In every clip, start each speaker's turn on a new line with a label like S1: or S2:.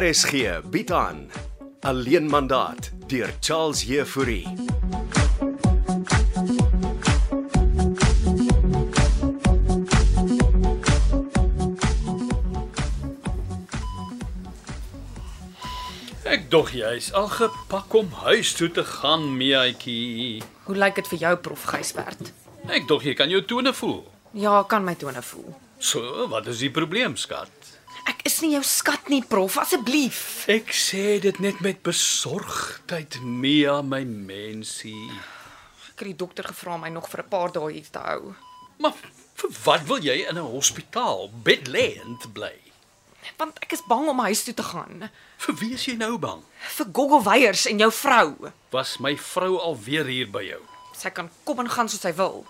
S1: RSG bied aan Alleen mandaat deur Charles Heffouri.
S2: Ek dog jy's al gepak om huis toe te gaan, meetjie.
S3: Hoe lyk dit vir jou prof Gysbert?
S2: Ek dog jy kan jou tone voel.
S3: Ja, ek kan my tone voel.
S2: So, wat is die probleem, skat?
S3: Ek is nie jou skat nie, prof, asseblief.
S2: Ek sê dit net met besorgdheid, Mia, my mensie.
S3: Ek het die dokter gevra om my nog vir 'n paar dae hier te hou.
S2: Maar vir wat wil jy in 'n hospitaal bedlêend bly?
S3: Want ek is bang om huis toe te gaan
S2: Vir wie is jy nou bang?
S3: vir Gogo Weyers en jou vrou.
S2: Was my vrou alweer hier by jou?
S3: Sy kan kom en gaan soos sy wil.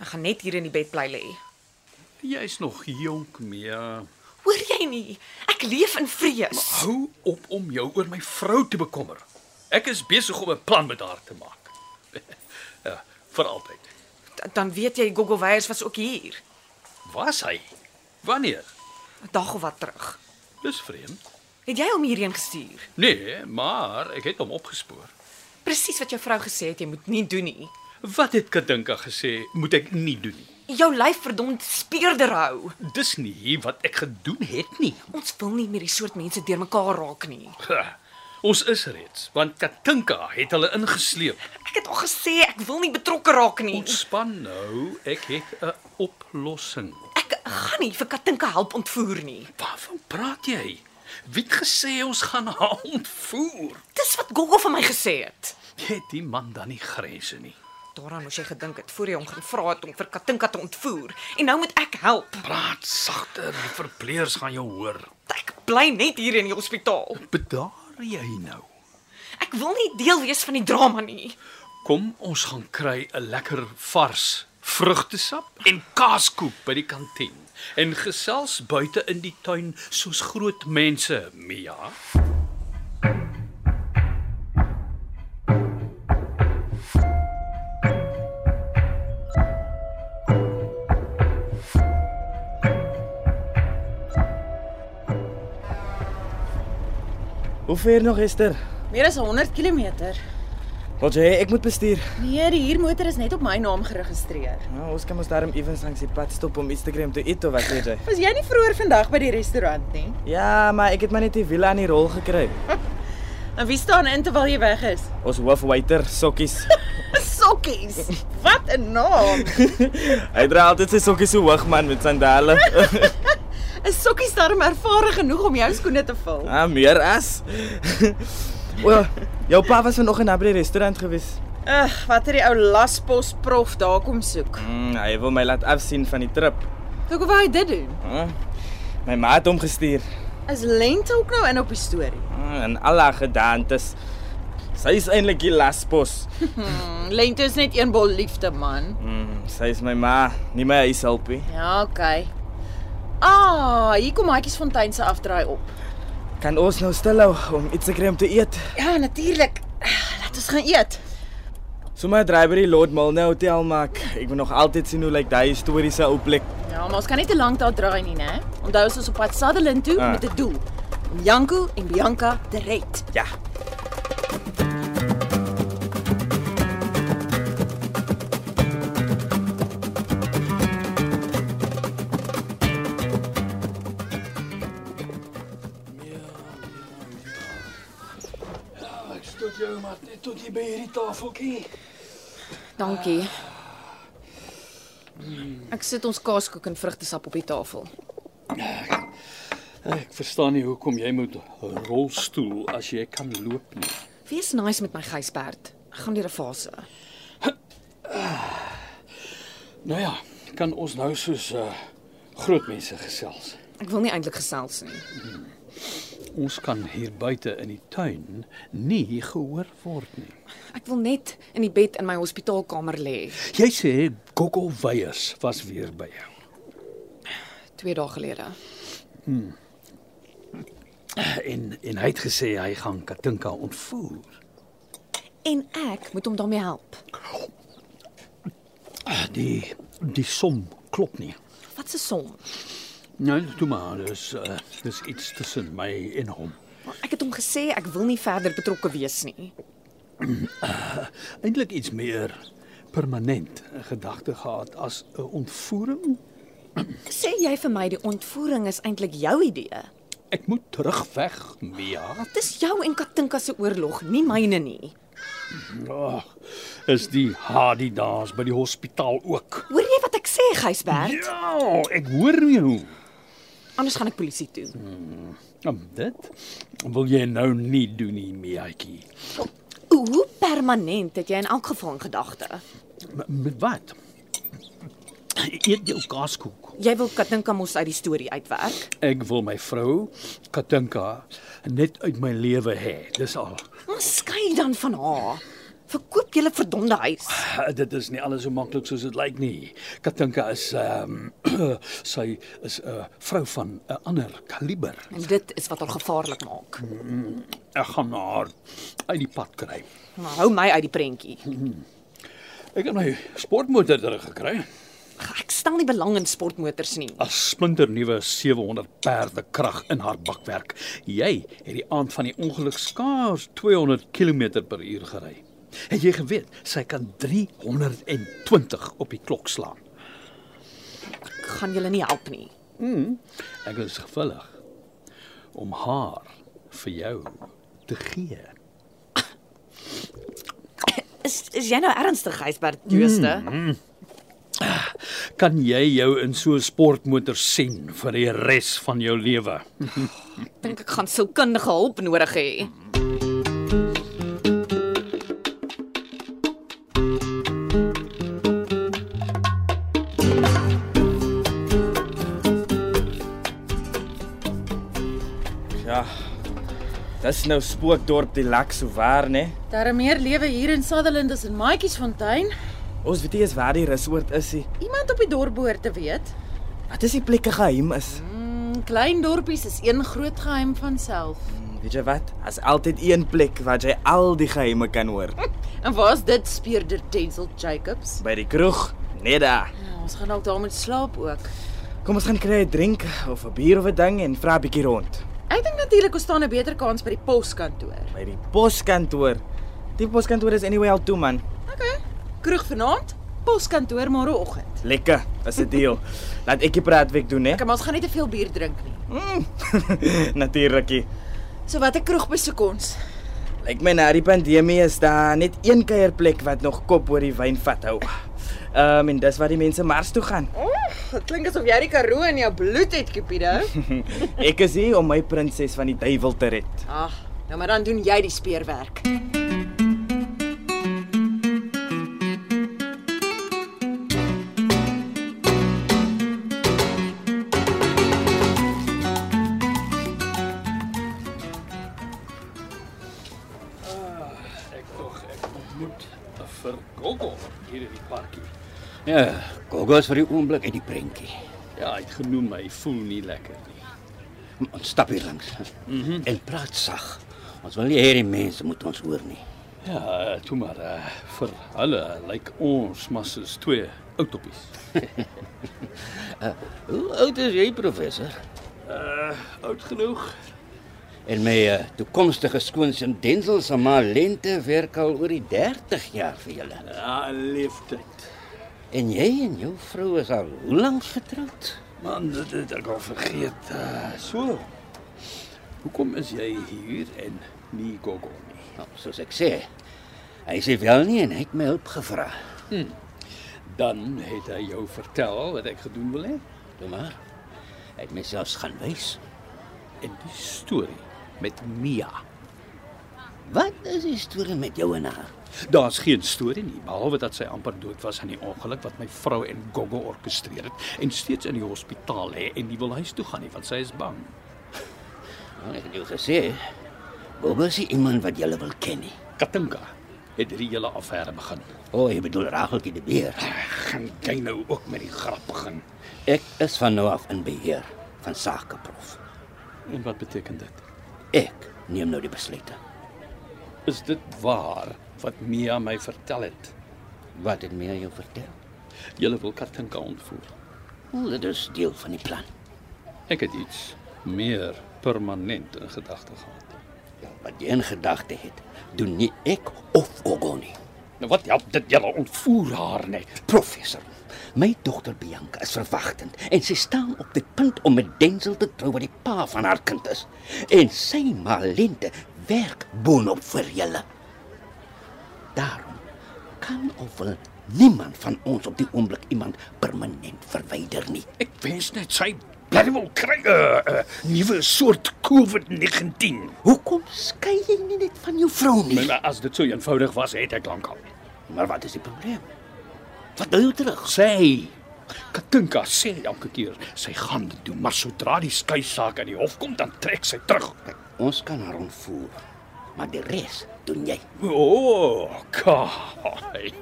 S3: Ek gaan net hier in die bed bly lê.
S2: Jy's nog jonk, Mia.
S3: Hoor jy nie? Ek leef in vrees.
S2: Hou op om jou oor my vrou te bekommer. Ek is besig om 'n plan met haar te maak. ja, vir altyd.
S3: D- Dan weet jy Gogo Weyers was ook hier.
S2: Was hy? Wanneer?
S3: 'n Dag of wat terug.
S2: Dis vreemd.
S3: Het jy hom hierheen gestuur?
S2: Nee, maar ek het hom opgespoor.
S3: Presies wat jou vrou gesê het jy moet nie doen nie.
S2: Wat het Kadinka gesê moet ek nie doen nie.
S3: Jou lyf verdomd speerder hou.
S2: Dis nie wat ek gedoen het nie.
S3: Ons wil nie met die soort mense deurmekaar raak nie.
S2: Ha, ons is reeds want Kadinka het hulle ingesleep.
S3: Ek het al gesê ek wil nie betrokke raak nie.
S2: Ontspan nou, ek het 'n oplossing.
S3: Ek gaan nie vir Katinka help ontvoer nie.
S2: Waarvan praat jy? Wie het gesê ons gaan haar ontvoer?
S3: Dis wat Gogo vir my gesê het.
S2: Jy het die man dan nie grense nie.
S3: Daaraan moes jy gedink het voor jy hom gevra het om vir Katinka te ontvoer. En nou moet ek help.
S2: Praat sagter, die verpleegers gaan jou hoor.
S3: Ek bly net hier in die hospitaal.
S2: Bedaar jy nou?
S3: Ek wil nie deel wees van die drama nie.
S2: Kom ons gaan kry 'n lekker vars vrugtesap en kaaskoek by die kantien en gesels buite in die tuin soos groot mense, Mia.
S4: Hoe ver nog Esther?
S5: Meer as 100 km.
S4: Wat jy ek moet bestuur.
S5: Nee, die huurmotor is net op my naam geregistreer.
S4: Nou, ons kan mos daarom effens langs die pad stop om iets te kry om te eet of wat weet jy.
S5: Was jy nie vroeër vandag by die restaurant nie?
S4: Ja, maar ek het maar net die wiele aan die rol gekry.
S5: En wie staan in terwyl jy weg is?
S4: Ons hoofwaiter sokkies.
S5: Sokkies. Wat 'n naam.
S4: Hy dra altyd sy sokkies so hoog man met sandale.
S5: 'n Sokkies darm ervare genoeg om jou skoene te vul.
S4: ah, meer as. o, jou pa was vanoggend na by die restaurant gewees.
S5: Ag, wat het die ou laspos prof daar kom soek?
S4: Mm, hy wil my laat afsien van die trip.
S5: Hoekom wou hy dit doen?
S4: Ah, my ma het hom gestuur.
S5: Is lente ook nou in op die storie?
S4: Ah, en al haar gedagtes. Sy is eintlik die laspos.
S5: Hmm, lente is net een bol liefde, man.
S4: Mm, sy is my ma, nie my huishulpie.
S5: Ja, okay. Ah, hier kom Maatjiesfontein se afdraai op.
S4: Kan ons nou stilhou om iets te kry om te eet?
S5: Ja, natuurlik. Laat ons gaan eet.
S4: Sommige draai by die Lord Milne nou Hotel maak. Ek wil nog altyd sien hoe lyk daai historiese ou plek.
S5: Ja, maar ons kan nie te lank daar draai nie, né? Onthou ons is op pad Sutherland toe
S4: Ah.
S5: met 'n doel om Janko en Bianca te red.
S4: Ja.
S2: Ek stoot jou maar net tot jy by hierdie tafeltjie.
S3: Dankie. Ek sit ons kaaskoek en vrugtesap op die tafel.
S2: Ek verstaan nie hoekom jy moet rolstoel as jy kan loop nie.
S3: Wees nice met my Gysbert. Ek gaan deur 'n fase.
S2: Nou ja, kan ons nou soos uh, groot mense gesels.
S3: Ek wil nie eintlik gesels nie.
S2: Ons kan hier buite in die tuin nie gehoor word nie.
S3: Ek wil net in die bed in my hospitaalkamer lê.
S2: Jy sê Gogo Weyers was weer by jou.
S3: 2 dae gelede.
S2: En en hy het gesê hy gaan Katinka ontvoer.
S3: En ek moet hom daarmee help.
S2: Ah, Die die som klop nie.
S3: Wat 'n som.
S2: eh, Nou, toe maar, dis uh, dis iets tussen my en hom.
S3: Maar Ek het hom gesê ek wil nie verder betrokke wees nie.
S2: Eintlik iets meer permanent in gedagte gehad as 'n ontvoering.
S3: Sê jy vir my die ontvoering is eintlik jou idee?
S2: Ek moet terugweg, Mia.
S3: Dis jou en Katinka se oorlog, nie myne nie.
S2: Ag, is die Hadi daas by die hospitaal ook.
S3: Hoor jy wat ek sê, Gysbert?
S2: Ja, ek hoor jou.
S3: Anders gaan ek polisie toe.
S2: Nou, dit wil jy nou nie doen nie, Miaatjie.
S3: Hoe permanent het jy in elk geval in gedagte?
S2: M- Met wat? Eet jou kaaskoek.
S3: Jy wil Katinka mos uit die storie uitwerk.
S2: Ek wil my vrou Katinka net uit my lewe hê. Dis al.
S3: Maar skei dan van haar. Verkoop julle verdomde huis.
S2: Ah, Dit is nie alles so maklik soos dit lyk nie. Katinka is ehm um, sy is 'n vrou van 'n ander kaliber.
S3: En dit is wat haar gevaarlik maak.
S2: Ek gaan haar uit die pad kry.
S3: Maar hou my uit die prentjie.
S2: Ek het my sportmotor teruggekry.
S3: Ek stel nie belang in sportmotors nie.
S2: 'n splinternuwe 700 perde krag in haar bakwerk. Jy het die aand van die ongeluk skaars 200 km/h gery. Het jy geweet sy kan 320 op die klok slaan?
S3: Ek gaan julle nie help nie.
S2: Ek is gewillig om haar vir jou te gee.
S3: Is is jy nou ernstig, Gysbert Jooste?
S2: Kan jy jou in so 'n sportmotor sien vir die res van jou lewe?
S3: Ek dink ek gaan sielkundige hulp nodig hê.
S4: Ja. Dis nou spookdorp die lek so ver, né?
S5: Daar is meer lewe hier in Sutherland as in Maatjiesfontein.
S4: Ons weet nie eens waar die resoort is nie.
S5: Iemand op die dorp behoort te weet.
S4: Wat is die plekke geheim is?
S5: Mm, klein dorpies is een groot geheim van self.
S4: Mm, Weet jy wat? Daar's altyd een plek waar jy al die geheime kan hoor.
S5: En waar's dit speurder Denzel Jacobs?
S4: By die kroeg, net daar.
S5: Ja, ons gaan dalk daar moet slaap ook.
S4: Kom ons gaan kry 'n drink of 'n bier of 'n ding en vra 'n bietjie rond.
S5: Ek dink natuurlik ons staan 'n beter kans by die poskantoor.
S4: By die poskantoor. Die poskantoor is anyway al toe man.
S5: Okay. Kroeg vanaand, poskantoor môreoggend.
S4: Lekker, is 'n deal. Laat ek die praatwerk doen, hè? Mm.
S5: Okay, maar ons gaan nie te veel bier drink nie.
S4: Natuurlikie.
S5: So watter kroeg besoek ons?
S4: Lyk my na die pandemie is daar net een kuierplek wat nog kop oor die wyn vat hou. Ehm um, en dis waar die mense mars toe gaan.
S5: Oef, dit klink asof jy die Karoo in jou bloed het, Cupido.
S4: Ek is hier om my prinses van die duiwel te red.
S5: Ag, nou maar dan doen jy die speerwerk.
S2: Ek tog ek ontmoet vir Gogo hier in die parkie.
S6: Ja, Gogos vir die oomblik uit die prentjie.
S2: Ja, hy het genoem hy voel nie lekker nie.
S6: Ons stap hier langs. Mm -hmm. En praat sag. Ons wil nie hê die mense moet ons hoor nie.
S2: Ja, eh, toe maar uh, vir hulle lyk like ons maar soos twee ou toppies.
S6: Hoe oud is jy, professor?
S2: Uh, oud genoeg.
S6: En my uh, toekomstige skoonseun Denzel se ma lente werk al oor die 30 jaar vir julle.
S2: Ja, 'n leeftyd.
S6: En jy en jou vrou is al hoe lank getroud?
S2: Man, dit het ek al vergeet. Uh, so. Hoekom is jy hier en nie Gogo nie?
S6: Nou, soos ek sê. Hy sê wel nie en hy het my hulp gevra.
S2: Dan het hy jou vertel wat ek gedoen wil hê
S6: Toe maar. Hy het myself gaan wys.
S2: en die storie met Mia.
S6: Wat is die storie met jou en haar?
S2: Daar's geen storie nie behalwe dat sy amper dood was in die ongeluk wat my vrou en Gogo orkestreer het en steeds in die hospitaal lê en nie wil huis toe gaan nie want sy is bang.
S6: Nou, ek het jou gesê, Bob is nie iemand wat jy wil ken nie.
S2: Katinka het hierdie hele affære begin.
S6: O, oh, jy bedoel Rageltjie die beer.
S2: Gaan jy nou ook met die grap begin?
S6: Ek is van nou af in beheer van sake, prof.
S2: En wat beteken dit?
S6: Ek neem nou die besluite.
S2: Is dit waar wat Mia my vertel het?
S6: Wat het meer jou vertel?
S2: Julle wil Katinka ontvoer.
S6: Wel, dit is deel van die plan.
S2: Ek het iets meer permanent in gedagte gehad.
S6: wat jy in gedagte het, doen nie ek of Gogo nie.
S2: Nou wat help dit julle ontvoer haar net?
S6: Professor, my dogter Bianca is verwagtend en sy staan op die punt om met Denzel te trou wat die pa van haar kind is. En sy Malente werk boonop vir julle. Daarom kan of wil niemand van ons op die oomblik iemand permanent verwyder nie.
S2: Ek wens net sy bly wil kry 'n uh, uh, nuwe soort COVID-19.
S6: Hoekom skei jy nie net van jou vrou nie?
S2: Nee, Maar as dit so eenvoudig was, het ek lankal.
S6: Maar wat is die probleem? Wat wil jy terug?
S2: Sê Katinka sê elke keer sy gaan dit doen, maar sodra die skei saak aan die hof kom, dan trek sy terug.
S6: Ons kan haar ontvoer, maar die res doen jy.
S2: O, oh, kai.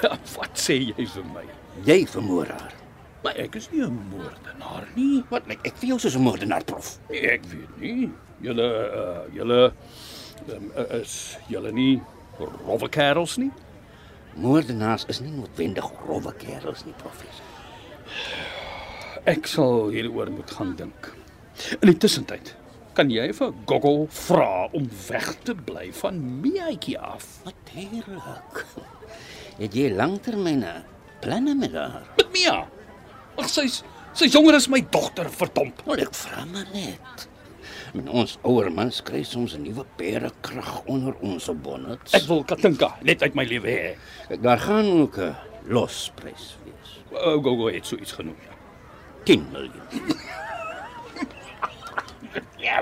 S2: Wat sê jy vir my?
S6: Jy vermoor haar.
S2: Maar ek is nie 'n moordenaar nie.
S6: Wat lyk ek vir jou soos 'n moordenaar prof?
S2: Nee, ek weet nie. Julle uh, julle um, uh, is julle nie rowwe kerels nie.
S6: Moordenaars is nie noodwendig rowwe kerels nie, professor.
S2: Ek sal hieroor moet gaan dink. In die tussentyd kan jy vir Gogo vra om weg te bly van Miaatjie af.
S6: Natuurlik. Het jy langtermyne planne met haar?
S2: Met Mia. Ag sy's sy's jonger as my dogter, verdomp.
S6: Wel, ek vra maar net. Met ons ouer mans kry soms 'n nuwe pere krag onder ons bonnets.
S2: Ek wil Katinka net uit my lewe hê.
S6: Ek daar gaan ook 'n losprys wees.
S2: Uh, Gogo het so iets genoem.
S6: 10 miljoen.
S2: Ja.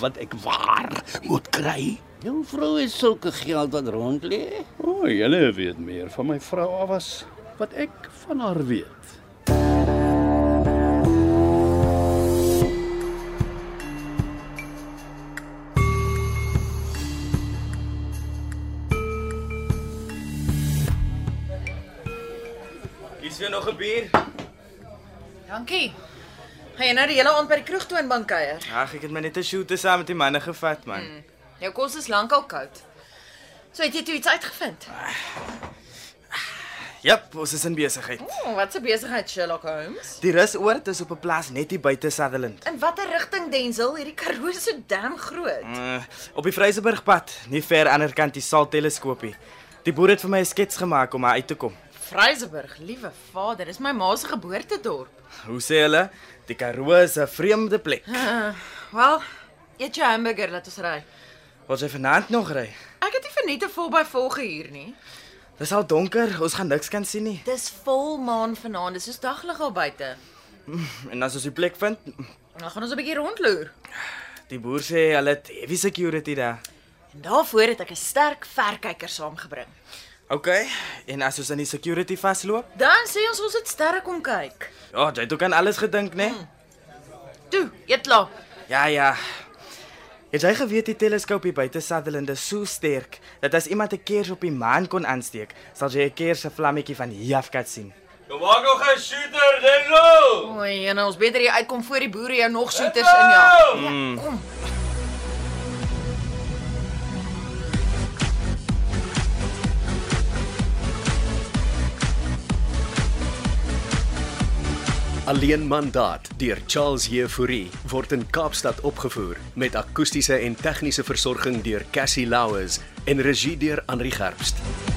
S2: Wat ek waar moet kry.
S6: Jou vrou het sulke geld wat rond lê.
S2: O, oh, julle weet meer van my vrou af as wat ek van haar weet.
S7: Is weer nog 'n bier?
S5: Dankie. Gaan jy nou die hele aand by die kroeg toe in bankuier?
S4: Ag, ek het my net 'n shoot saam met die manne gevat, man. Mm.
S5: Jou kos is lankal koud. So het jy toe iets uitgevind?
S4: Jep, ons is in besigheid.
S5: Oh, wat 'n besigheid Sherlock Holmes.
S4: Die rusoord is op 'n plaas net hier buite Sutherland.
S5: In watter rigting Denzel? Hierdie Karoo is so damn groot.
S4: Uh, op die Vryseburgpad, nie ver aan die ander kant die Salt teleskoopie. Die boer het vir my 'n skets gemaak om daar uit te kom.
S5: Vryseburg, liewe vader, dis my ma se geboortedorp.
S4: Hoe sê hulle? Die Karoo is 'n vreemde plek.
S5: Wel, eet jou hamburger, laat ons ry.
S4: Wat jy vanaand nog ry.
S5: Ek het nie verniet 'n volbyvol gehuur nie.
S4: Dis al donker, ons gaan niks kan sien nie.
S5: Dis volmaan vanaand, dis soos daglig al buite.
S4: En as ons die plek vind,
S5: Dan Nou gaan ons 'n bietjie rondloer.
S4: die boer sê hulle het heavy security daar.
S5: En daarvoor het ek 'n sterk verkyker saamgebring.
S4: OK, en as ons in die security vasloop,
S5: Dan sê ons ons het sterre kom kyk.
S4: ja, jy het ook aan alles gedink, né? Nee?
S5: Toe, eet klaar.
S4: Ja, ja. Het jy geweet die teleskoop hier buite Sutherland is so sterk dat as iemand 'n kers op die maan kon aansteek, sal jy 'n kers se vlammetjie van hier af kan sien.
S7: Kom maak nog 'n shooter, Dingo.
S5: O, en ons beter hier uitkom voor die boere jou nog soeters ja. injaag.
S1: Alleen mandaat deur Charles Heffury word in Kaapstad opgevoer met akoestiese en tegniese versorging deur Cassie Louws en regie deur Henri Gerst.